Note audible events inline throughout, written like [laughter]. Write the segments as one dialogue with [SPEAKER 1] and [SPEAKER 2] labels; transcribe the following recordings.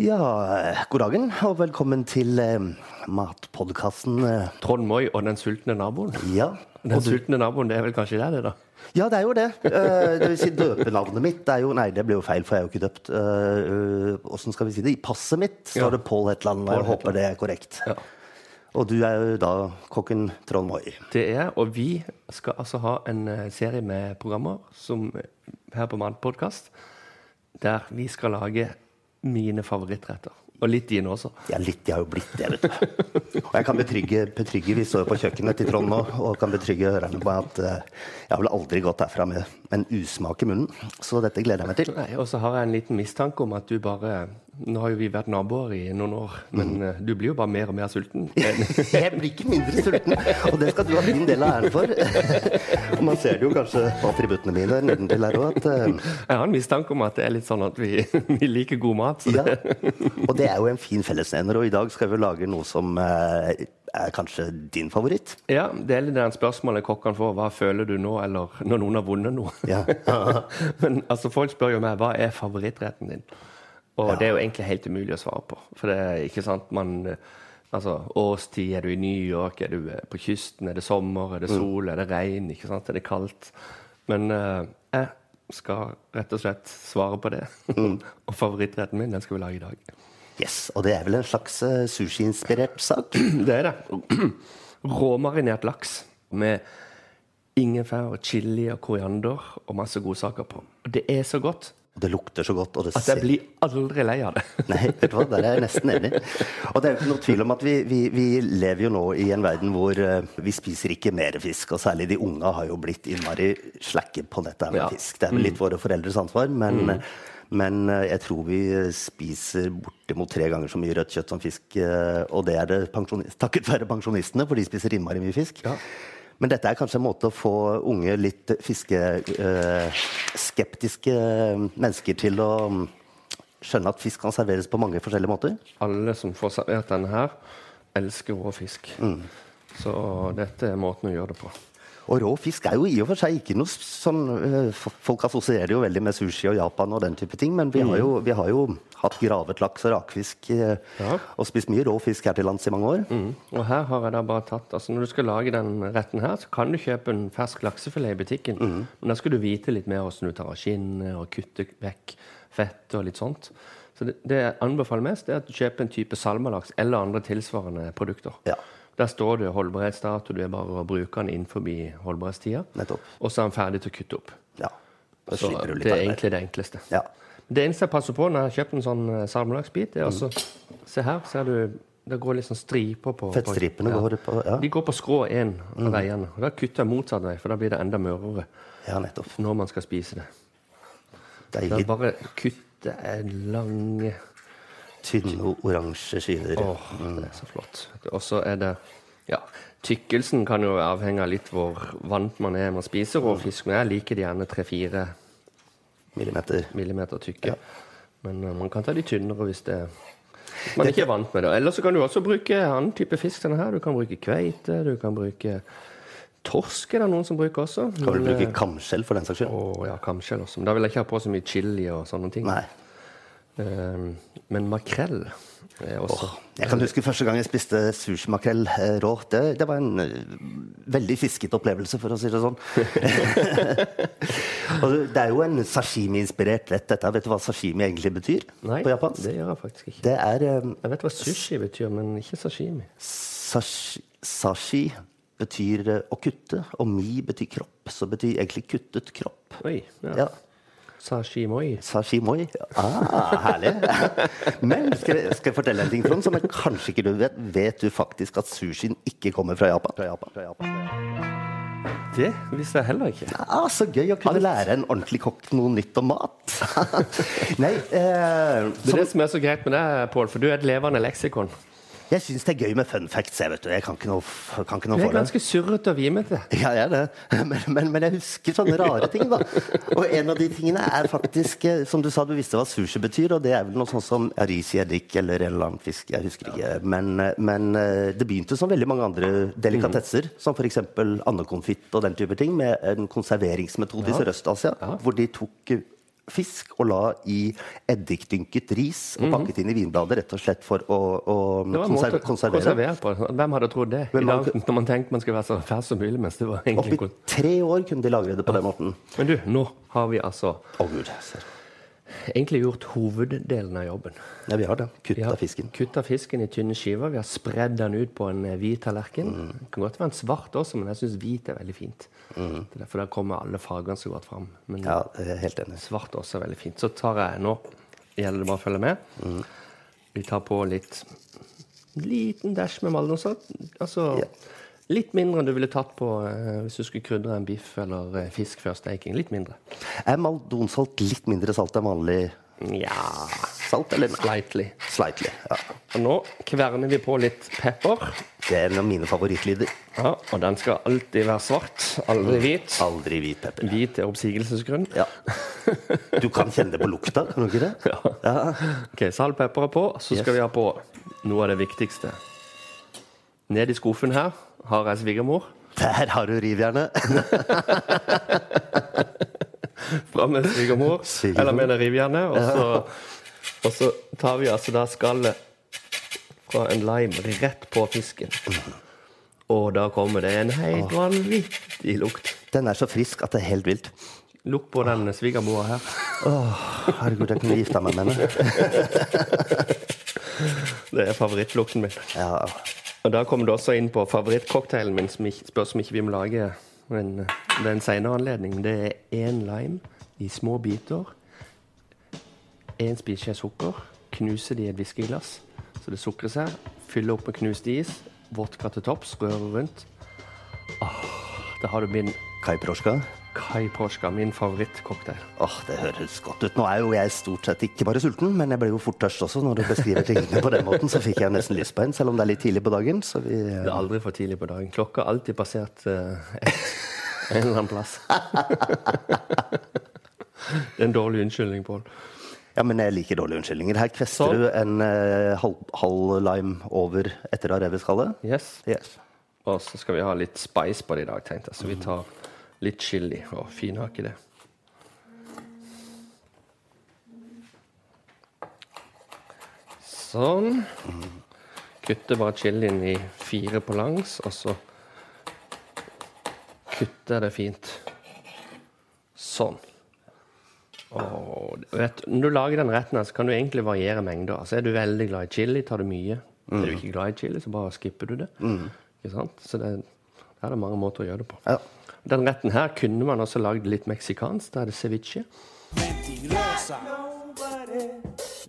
[SPEAKER 1] Ja, eh, god dagen og velkommen til eh, matpodkasten. eh.
[SPEAKER 2] Trond Moi og den sultne naboen.
[SPEAKER 1] Ja.
[SPEAKER 2] Den sultne naboen, det er vel kanskje der, det, da?
[SPEAKER 1] ja, det er jo det. Eh, Det vil si døpenavnet mitt er jo Nei, det blir jo feil, for jeg er jo ikke døpt. Eh, Åssen skal vi si det? I passet mitt
[SPEAKER 2] Ja.
[SPEAKER 1] står det Pål Hetland, og jeg
[SPEAKER 2] Paul
[SPEAKER 1] håper det er korrekt.
[SPEAKER 2] Ja.
[SPEAKER 1] Og du er jo da kokken Trond Moi.
[SPEAKER 2] Det er, og vi skal altså ha en eh, serie med programmer som eh, her på Matpodkast, der vi skal lage mine favorittretter. Og litt dine også.
[SPEAKER 1] Ja, litt. Jeg har jo blitt det, vet du. Og jeg kan betrygge, betrygge Vi står jo på kjøkkenet til Trond nå, og kan betrygge hørerne på at eh, jeg har vel aldri gått herfra med en usmak i munnen. Så dette gleder jeg meg til.
[SPEAKER 2] Nei, Og så har jeg en liten mistanke om at du bare Nå har jo vi vært naboer i noen år, men eh, du blir jo bare mer og mer sulten.
[SPEAKER 1] Jeg blir ikke mindre sulten, og det skal du ha din del av æren for. Og man ser det jo kanskje på attributtene mine nedentil her òg, at eh,
[SPEAKER 2] Jeg har en mistanke om at det er litt sånn at vi, [laughs] vi liker god mat. Så
[SPEAKER 1] Ja.
[SPEAKER 2] det,
[SPEAKER 1] Og det er jo en fin fellesnevner, og i dag skal vi jo lage noe som eh, er kanskje din favoritt.
[SPEAKER 2] Ja, det er litt det spørsmålet kokkene får. Hva føler du nå, eller når noen har vunnet noe?
[SPEAKER 1] Ja.
[SPEAKER 2] [laughs] Men altså, folk spør jo meg hva er favorittretten din? Og det er jo egentlig helt umulig å svare på. For det er ikke sant man eh, Altså, årstid, er du i New York, er du eh, på kysten, er det sommer, er det sol, er det regn, ikke sant, er det kaldt? Men eh, jeg skal rett og slett svare på det. [laughs] og favorittretten min, den skal vi lage i dag.
[SPEAKER 1] Yes, Og det er vel en slags eh, sushiinspirert sak?
[SPEAKER 2] Det er det. Råmarinert laks med ingefær og chili og koriander og masse godsaker på. Og det er så godt
[SPEAKER 1] Og det lukter så godt, og det
[SPEAKER 2] at jeg blir aldri lei av det. [laughs]
[SPEAKER 1] Nei, vet du hva, der er jeg nesten enig. Og det er jo ikke noe tvil om at vi, vi, vi lever jo nå i en verden hvor eh, vi spiser ikke mer fisk, og særlig de unge har jo blitt innmari slakke på dette her med
[SPEAKER 2] Ja.
[SPEAKER 1] fisk. Det er vel litt våre foreldres ansvar, men, men eh, jeg tror vi eh, spiser bortimot tre ganger så mye rødt kjøtt som fisk, eh, og det er det pensjonist, takket være pensjonistene, for de spiser innmari mye fisk.
[SPEAKER 2] Ja.
[SPEAKER 1] Men dette er kanskje en måte å få unge, litt fiskeskeptiske mennesker til å mm, skjønne at fisk kan serveres på mange forskjellige måter.
[SPEAKER 2] Alle som får servert denne her, elsker rå fisk. Så dette er måten å gjøre det på.
[SPEAKER 1] Og rå fisk er jo i og for seg ikke noe s- sånn eh, f- Folk assosierer jo veldig med sushi og Japan og den type ting, men vi har jo, vi har jo hatt gravet laks og rakfisk eh,
[SPEAKER 2] Mm. Ja.
[SPEAKER 1] og spist mye rå fisk her til lands i mange år.
[SPEAKER 2] Mm. Og her har jeg da bare tatt Altså Når du skal lage den retten her, så kan du kjøpe en fersk laksefilet i butikken.
[SPEAKER 1] Mhm.
[SPEAKER 2] Men da skal du vite litt mer hvordan du tar av skinnet og kutter vekk fett og litt sånt. Så det, det jeg anbefaler mest, det er at du kjøper en type salmalaks eller andre tilsvarende produkter.
[SPEAKER 1] Ja.
[SPEAKER 2] Der står det holdbarhetsdato, du er bare å bruke den innenfor holdbarhetstida.
[SPEAKER 1] Nettopp.
[SPEAKER 2] Og så er den ferdig til å kutte opp.
[SPEAKER 1] Ja. Da
[SPEAKER 2] Så
[SPEAKER 1] slipper du litt
[SPEAKER 2] det er
[SPEAKER 1] arbeid.
[SPEAKER 2] egentlig det enkleste.
[SPEAKER 1] Ja.
[SPEAKER 2] Det eneste jeg passer på når jeg har kjøpt en sånn eh, salmelaksbit,
[SPEAKER 1] Mhm.
[SPEAKER 2] det er altså Se her, ser du Det går litt sånn striper på
[SPEAKER 1] Fettstripene
[SPEAKER 2] på,
[SPEAKER 1] går på Ja,
[SPEAKER 2] De går på skrå én av veiene. Og da kutter jeg motsatt vei, for da blir det enda mørere
[SPEAKER 1] ja nettopp.
[SPEAKER 2] når man skal spise det. Da
[SPEAKER 1] Deilig
[SPEAKER 2] bare kutter jeg lange
[SPEAKER 1] tynne oransje skiver.
[SPEAKER 2] Åh, det er så flott. Og så er det Ja, tykkelsen kan jo avhenge av litt hvor vant man er med å spise rå fisk, men jeg liker det gjerne tre-fire
[SPEAKER 1] Millimeter.
[SPEAKER 2] millimeter tykke. Men eh, man kan ta de tynnere hvis det hvis man ikke er vant med det. Eller så kan du også bruke annen type fisk. Denne her. Du kan bruke kveite, du kan bruke torsk. er det noen som bruker også.
[SPEAKER 1] Kan vel
[SPEAKER 2] Men,
[SPEAKER 1] bruke
[SPEAKER 2] eh,
[SPEAKER 1] kamskjell for den saks skyld?
[SPEAKER 2] å, ja, kamskjell også. Men da vil jeg ikke ha på så mye chili og sånne ting.
[SPEAKER 1] Nei.
[SPEAKER 2] Eh, men makrell er også
[SPEAKER 1] Jeg kan huske første gang jeg spiste sushimakrell eh, rå. Det, det var en eh, veldig fiskete opplevelse, for å si det [laughs] sånn. og det er jo en sashimi-inspirert rett, dette. Vet du hva sashimi egentlig betyr
[SPEAKER 2] Nei,
[SPEAKER 1] på japansk?
[SPEAKER 2] det gjør jeg faktisk ikke.
[SPEAKER 1] Det er eh,
[SPEAKER 2] Jeg vet hva sushi betyr, men ikke sashimi.
[SPEAKER 1] sashi, sashi betyr eh, å kutte, og mi betyr kropp. Så betyr egentlig kuttet kropp.
[SPEAKER 2] Oi, ja.
[SPEAKER 1] Ja.
[SPEAKER 2] Sashimoi.
[SPEAKER 1] Sashimoi. Ah, herlig. [laughs] Men skal jeg, skal jeg fortelle en ting, Trond, som jeg kanskje ikke du vet? Vet du faktisk at sushien ikke kommer fra Japan? Fra Japan, fra Japan.
[SPEAKER 2] Det visste jeg heller ikke.
[SPEAKER 1] Ah, så gøy å kunne lære en ordentlig kokk noe nytt om mat. [laughs] Nei, eh, som,
[SPEAKER 2] Det er det som er så greit med deg, Pål, for du er et levende leksikon.
[SPEAKER 1] jeg syns det er gøy med fun facts. Jeg, vet du. jeg kan ikke noe, f- kan ikke noe
[SPEAKER 2] Du er
[SPEAKER 1] for det.
[SPEAKER 2] ganske surrete og vimete.
[SPEAKER 1] Ja, jeg er det. [laughs] Men, men, men jeg husker sånne rare ting, da. Og en av de tingene er faktisk, eh, som du sa, du visste hva sushi betyr, og det er vel noe sånt som ja, ris i eddik eller en eller annen fisk, jeg husker ikke. Men, eh, men eh, det begynte som veldig mange andre delikatesser,
[SPEAKER 2] Mm.
[SPEAKER 1] som f.eks. andekonfitt og den type ting, med en konserveringsmetode i Sørøst-Asia, hvor de tok eh, fisk og la i eddikdynket ris og pakket inn i vinblader, rett og slett for å, å
[SPEAKER 2] Mhm. Det var en måte
[SPEAKER 1] konser
[SPEAKER 2] å
[SPEAKER 1] konservere.
[SPEAKER 2] konservere på. Hvem hadde trodd det? I
[SPEAKER 1] Hvem
[SPEAKER 2] dag,
[SPEAKER 1] hadde-
[SPEAKER 2] når man tenkte man skulle være så fersk som mulig. Mens det var egentlig
[SPEAKER 1] Oppi
[SPEAKER 2] kun...
[SPEAKER 1] tre år kunne de lagre det på den måten.
[SPEAKER 2] Men du, nå har vi altså
[SPEAKER 1] Å gud, ser.
[SPEAKER 2] egentlig gjort hoveddelen av jobben.
[SPEAKER 1] Ja, vi har det.
[SPEAKER 2] Vi
[SPEAKER 1] Kutta
[SPEAKER 2] har
[SPEAKER 1] fisken.
[SPEAKER 2] kutta fisken i tynne skiver. Vi har spredd den ut på en eh, hvit tallerken.
[SPEAKER 1] Mm.
[SPEAKER 2] Det kan godt være en svart også, men jeg syns hvit er veldig fint. Det er derfor der kommer alle fargene så godt fram. Men
[SPEAKER 1] Mm. Ja, jeg er helt enig.
[SPEAKER 2] svart også er veldig fint. Så tar jeg nå Gjelder det bare å følge med.
[SPEAKER 1] Mm.
[SPEAKER 2] Vi tar på litt en liten dash med maldonsalt. Altså
[SPEAKER 1] Ja.
[SPEAKER 2] litt mindre enn du ville tatt på eh, hvis du skulle krydre en biff eller eh, fisk før steking. Litt mindre.
[SPEAKER 1] Er maldonsalt litt mindre salt enn vanlig
[SPEAKER 2] Ja
[SPEAKER 1] salt? Eller nei?
[SPEAKER 2] Slightly.
[SPEAKER 1] Slightly. Ja.
[SPEAKER 2] Og nå kverner vi på litt pepper.
[SPEAKER 1] Det er en av mine favorittlyder.
[SPEAKER 2] Ja, og den skal alltid være svart, aldri hvit.
[SPEAKER 1] Aldri hvit pepper.
[SPEAKER 2] Hvit er oppsigelsesgrunn.
[SPEAKER 1] Ja. Du kan kjenne det på lukta, kan du ikke det?
[SPEAKER 2] Ok, Salt, pepper er på. Så skal
[SPEAKER 1] Yes.
[SPEAKER 2] vi ha på noe av det viktigste. Ned i skuffen her har jeg svigermor.
[SPEAKER 1] Der har du rivjernet.
[SPEAKER 2] Fram med svigermor,
[SPEAKER 1] Svigermor.
[SPEAKER 2] eller med det rivjernet. Og så, og så tar vi altså da skallet fra en lime rett på fisken. Og da kommer det en helt vanvittig lukt.
[SPEAKER 1] Den er så frisk at det er helt vilt.
[SPEAKER 2] Lukt på den svigermora her.
[SPEAKER 1] Herregud, jeg kunne gifta meg med henne.
[SPEAKER 2] Det er favorittlukten min.
[SPEAKER 1] Ja.
[SPEAKER 2] Og da kommer du også inn på favorittcocktailen min, som ikke, spørs om ikke vi må lage men det er en senere anledning. Det er én lime i små biter, én spiseskje sukker, knuse det i et whiskyglass, så det sukrer seg, fylle opp med knust is, vodka til topps, røre rundt. Åh, da har du min
[SPEAKER 1] Kai Proska.
[SPEAKER 2] Kai Porska, min favorittcocktail.
[SPEAKER 1] Åh, Det høres godt ut. Nå er jo jeg stort sett ikke bare sulten, men jeg ble jo fort tørst også. Når du beskriver tingene på den måten, så fikk jeg nesten lyst på en, selv om det er litt tidlig på dagen. Så vi
[SPEAKER 2] Det er aldri for tidlig på dagen. Klokka er alltid passert eh, en eller annen plass. det er en dårlig unnskyldning, Pål.
[SPEAKER 1] Ja, men jeg liker dårlige unnskyldninger. Her kvester
[SPEAKER 2] Sånn.
[SPEAKER 1] du en eh, halv, halv lime over etter å ha revet skallet.
[SPEAKER 2] Yes.
[SPEAKER 1] Yes.
[SPEAKER 2] Og så skal vi ha litt spice på det i dag, tenkte jeg. Så vi tar litt chili og finhaker det. Sånn. Kutter bare chilien i fire på langs, og så kutter jeg det fint. Sånn. Og vet, du, når du lager den retten, her, så kan du egentlig variere mengder. Altså, er du veldig glad i chili, tar du mye. Er du ikke glad i chili, så bare skipper du det. Ikke sant? Så det, der er det mange måter å gjøre det på.
[SPEAKER 1] Ja.
[SPEAKER 2] Den retten her kunne man også lagd litt meksikansk. Da er det ceviche.
[SPEAKER 1] Det er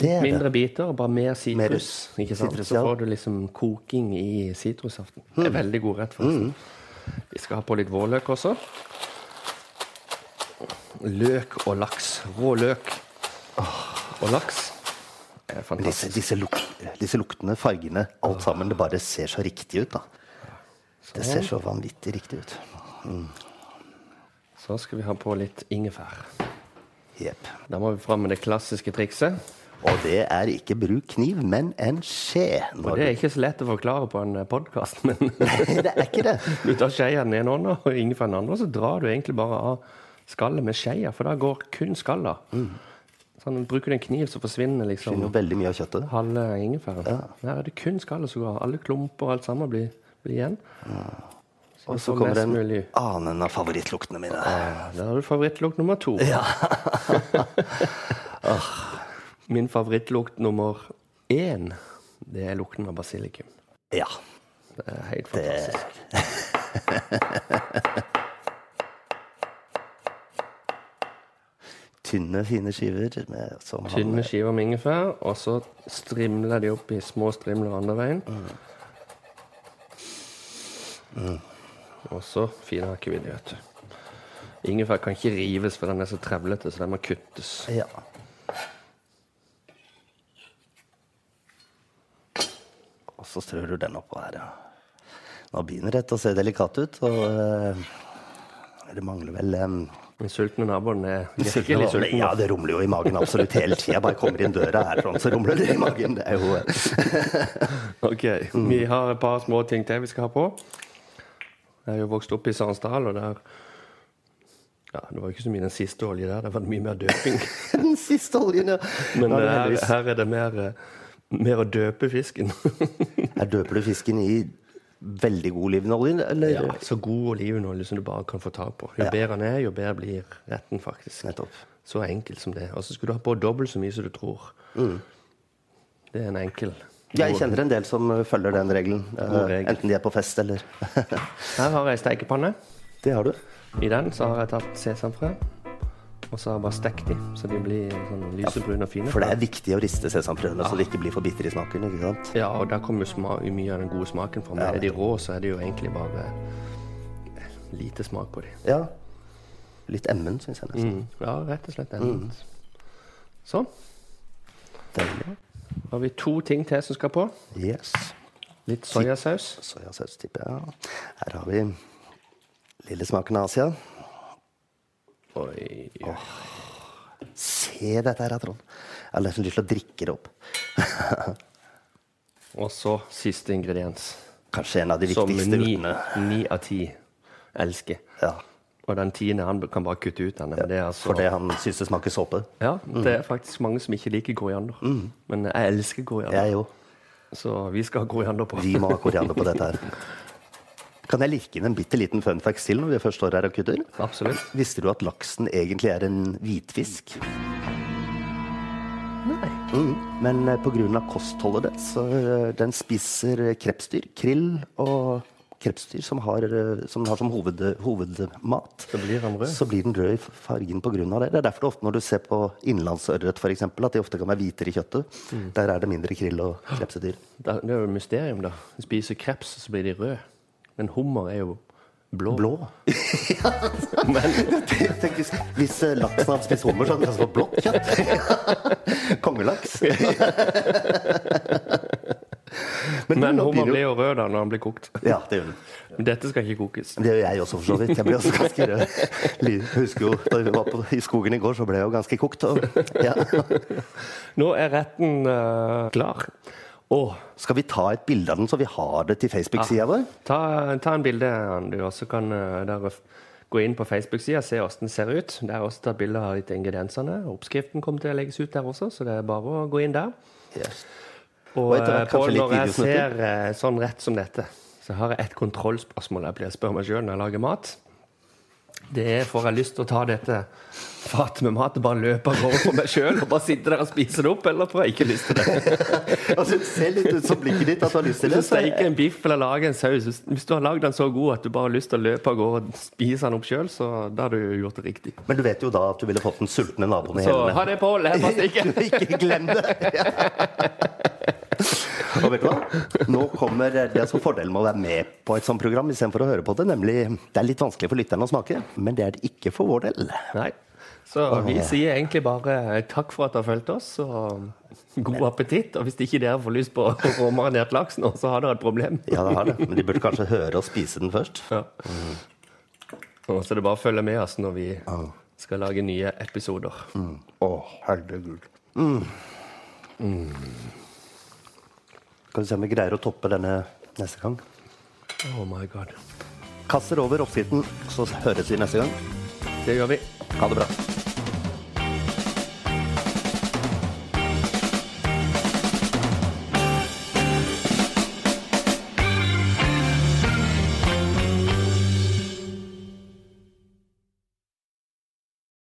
[SPEAKER 1] det.
[SPEAKER 2] Mindre biter, og bare mer sitrus.
[SPEAKER 1] Mer
[SPEAKER 2] Ikke sant?
[SPEAKER 1] sitrus,
[SPEAKER 2] Så
[SPEAKER 1] ja.
[SPEAKER 2] får du liksom koking i sitrusaften.
[SPEAKER 1] Hmm.
[SPEAKER 2] Det er veldig god rett, forresten. Vi skal ha på litt vårløk også. Løk og laks. Rå løk og laks. Det er
[SPEAKER 1] Disse,
[SPEAKER 2] fantastisk.
[SPEAKER 1] disse, luk, disse luktene, fargene, alt sammen. Det bare ser så riktig ut, da. Det
[SPEAKER 2] Sånn.
[SPEAKER 1] ser så vanvittig riktig ut.
[SPEAKER 2] Så skal vi ha på litt ingefær.
[SPEAKER 1] Jepp.
[SPEAKER 2] Da må vi fram med det klassiske trikset.
[SPEAKER 1] Og det er ikke bruk kniv, men en skje.
[SPEAKER 2] Og
[SPEAKER 1] Når
[SPEAKER 2] det er ikke så lett å forklare på en podkast, men
[SPEAKER 1] du... [laughs] det er ikke det.
[SPEAKER 2] du tar skeia i den ene hånda og ingefær i den andre, og så drar du egentlig bare av skallet med skeia, for da går kun skallet. Sånn, bruker du en kniv, så
[SPEAKER 1] Det
[SPEAKER 2] forsvinner
[SPEAKER 1] er
[SPEAKER 2] liksom
[SPEAKER 1] jo veldig mye av kjøttet.
[SPEAKER 2] halve ingefæren. Her er det kun skallet som går av. Alle klumper og alt sammen blir, blir igjen.
[SPEAKER 1] Og
[SPEAKER 2] Så
[SPEAKER 1] så
[SPEAKER 2] mest
[SPEAKER 1] kommer en
[SPEAKER 2] mulig.
[SPEAKER 1] annen av favorittluktene mine.
[SPEAKER 2] Der har du favorittlukt nummer to.
[SPEAKER 1] Eh.
[SPEAKER 2] Min favorittlukt nummer én, det er lukten av basilikum.
[SPEAKER 1] Ja.
[SPEAKER 2] Det er helt fantastisk.
[SPEAKER 1] Tynne, fine skiver. Med, som har-
[SPEAKER 2] Tynne skiver med ingefær, og så strimler de opp i små strimler andre veien. Mm. Og så finhakker vi det, vet du. Ingefær kan ikke rives, for den er så trevlete, så den må kuttes.
[SPEAKER 1] Ja. Og så strør du den oppå her, ja. Nå begynner dette å se delikat ut, og eh, det mangler vel em,
[SPEAKER 2] Den sultne naboen er virkelig
[SPEAKER 1] sulten-
[SPEAKER 2] sulten.
[SPEAKER 1] Ja, det rumler jo i magen absolutt hele tida. Bare kommer inn døra her, sånn, så rumler det i magen. Det er jo eh, [laughs]
[SPEAKER 2] Ok, Vi har et par små ting til vi skal ha på. Jeg har jo vokst opp i Sarensdal, og der Ja, det var jo ikke så mye den siste oljen der. Det var mye mer [laughs] døping.
[SPEAKER 1] Den siste oljen, ja.
[SPEAKER 2] Men
[SPEAKER 1] Da er
[SPEAKER 2] eh,
[SPEAKER 1] det
[SPEAKER 2] her,
[SPEAKER 1] heldigvis-
[SPEAKER 2] her er det mer, eh, mer å døpe fisken. [laughs]
[SPEAKER 1] Her døper du fisken i veldig god olivenolje, eller?
[SPEAKER 2] ja, så god olivenolje som du bare kan få tak på. Jo bedre den er, jo bedre blir retten, faktisk.
[SPEAKER 1] Nettopp.
[SPEAKER 2] Så enkelt som det. Og så skal du ha på dobbelt så mye som du tror. Det er en enkel
[SPEAKER 1] Jeg kjenner en del som eh, følger den regelen. eh,
[SPEAKER 2] God regel.
[SPEAKER 1] Enten de er på fest eller [laughs]
[SPEAKER 2] Her har jeg stekepanne.
[SPEAKER 1] Det har du.
[SPEAKER 2] I den så har jeg tatt sesamfrø. Og så har jeg bare stekt de, så de blir sånn lysebrune og fine.
[SPEAKER 1] For det er viktig å riste sesamfrøene så de ikke blir for bitre i smaken. ikke sant?
[SPEAKER 2] Ja, og der kommer jo sma mye av den gode smaken fram. er de rå, så er det jo egentlig bare lite smak på de.
[SPEAKER 1] Ja. Litt emmen, syns jeg nesten.
[SPEAKER 2] Mm. Ja, rett og slett. Mm. Sånn.
[SPEAKER 1] Deilig.
[SPEAKER 2] Da har vi to ting til som skal på.
[SPEAKER 1] Yes.
[SPEAKER 2] Litt soyasaus.
[SPEAKER 1] Soyasaus, tipper jeg. Ja. Her har vi lille smaken av Asia.
[SPEAKER 2] Oi.
[SPEAKER 1] Se dette her, Trond. Jeg har nesten lyst til å drikke det opp.
[SPEAKER 2] Og så siste ingrediens.
[SPEAKER 1] Kanskje en av de
[SPEAKER 2] Som
[SPEAKER 1] viktigste
[SPEAKER 2] ni,
[SPEAKER 1] urtene.
[SPEAKER 2] ni av ti elsker.
[SPEAKER 1] Ja.
[SPEAKER 2] Og den tiende han kan bare kutte ut denne. Men det er altså
[SPEAKER 1] For det Mm. han syns det smaker såpe.
[SPEAKER 2] Ja, det er faktisk mange som ikke liker koriander. Men jeg elsker koriander,
[SPEAKER 1] Mm. Jeg òg.
[SPEAKER 2] så vi skal ha koriander på.
[SPEAKER 1] Vi må ha koriander på dette her. Kan jeg lirke inn en bitte liten fun fact til når vi først står her og kutter?
[SPEAKER 2] Absolutt.
[SPEAKER 1] Visste du at laksen egentlig er en hvitfisk?
[SPEAKER 2] Nei.
[SPEAKER 1] Mm. Men eh, på grunn av kostholdet det, så eh, den spiser eh, krepsdyr, krill og krepsdyr som har eh, som, har som hoved, hovedmat.
[SPEAKER 2] Så blir han rød.
[SPEAKER 1] Så blir den rød i fargen på grunn av det. Det er derfor det ofte når du ser på innlandsørret for eksempel, at de ofte kan være hvitere i kjøttet.
[SPEAKER 2] Mm.
[SPEAKER 1] Der er det mindre krill og krepsedyr.
[SPEAKER 2] Da- Det er jo et mysterium, da. De spiser kreps, så blir de røde. Men hummer er jo blå.
[SPEAKER 1] Blå. [laughs] Tenk hvis, hvis eh, laksen hadde spist hummer, så hadde den kanskje fått blått kjøtt. [laughs] Kongelaks. [laughs] Men,
[SPEAKER 2] Men
[SPEAKER 1] nå
[SPEAKER 2] hummer
[SPEAKER 1] blir
[SPEAKER 2] blir
[SPEAKER 1] det jo
[SPEAKER 2] jo rød da når den blir kokt.
[SPEAKER 1] Ja, det gjør den.
[SPEAKER 2] Men Dette skal ikke kokes.
[SPEAKER 1] Det gjør jeg også, for så vidt. Jeg ble også ganske rød. Jeg husker jo, Da vi var på, i skogen i går, så ble jeg jo ganske kokt. Og, ja.
[SPEAKER 2] Nå er retten eh, klar. Og
[SPEAKER 1] Skal vi ta et bilde av den, så vi har det til Facebook-sida vår?
[SPEAKER 2] ta, ta en bilde, Ann, du, og så kan eh, dere f- gå inn på Facebook-sida og se hvordan den ser ut. Der er også tatt bilde av litt ingrediensene. Oppskriften kommer til å legges ut der også, så det er bare å gå inn der.
[SPEAKER 1] Ah, Yes.
[SPEAKER 2] Og,
[SPEAKER 1] Og etter hvert
[SPEAKER 2] eh, Pål,
[SPEAKER 1] kanskje litt
[SPEAKER 2] når jeg
[SPEAKER 1] videosnutter.
[SPEAKER 2] ser eh, sånn rett som dette, så har jeg et kontrollspørsmål jeg blir spør meg sjøl når jeg lager mat. Det er får jeg lyst til å ta dette fatet med mat og bare løpe av gårde for meg sjøl og bare sitte der og spise det opp, eller får jeg ikke lyst til det?
[SPEAKER 1] Altså, det ser litt ut som blikket ditt at du har lyst til
[SPEAKER 2] Eller
[SPEAKER 1] det. så-
[SPEAKER 2] steike en biff eller lage en saus. Hvis- Hvis du har lagd den så god at du bare har lyst til å løpe av gårde og spise den opp sjøl, så da har du gjort det riktig.
[SPEAKER 1] Men du vet jo da at du ville fått den sultne naboen i
[SPEAKER 2] Så
[SPEAKER 1] hælene.
[SPEAKER 2] ha det, Pål. Her bare stikker.
[SPEAKER 1] Ikke glem det! Og vet du hva? Nå kommer det som er altså fordelen med å være med på et sånt program istedenfor å høre på det, nemlig det er litt vanskelig for lytterne å smake, men det er det ikke for vår del.
[SPEAKER 2] [laughs] Nei. Så vi sier egentlig bare takk for at dere har fulgt oss, og god appetitt. Og hvis ikke dere får lyst på råmarinert laks nå, så har dere et problem.
[SPEAKER 1] Ja, det har det, men de burde kanskje høre og spise den først.
[SPEAKER 2] Ja. Og så er det bare å følge med oss når vi skal lage nye episoder.
[SPEAKER 1] Å, herregud. Mm. Skal vi se om vi greier å toppe denne neste gang.
[SPEAKER 2] Oh my god.
[SPEAKER 1] Kasser over oppskriften, så høres vi neste gang.
[SPEAKER 2] Det gjør vi.
[SPEAKER 1] Ha det bra.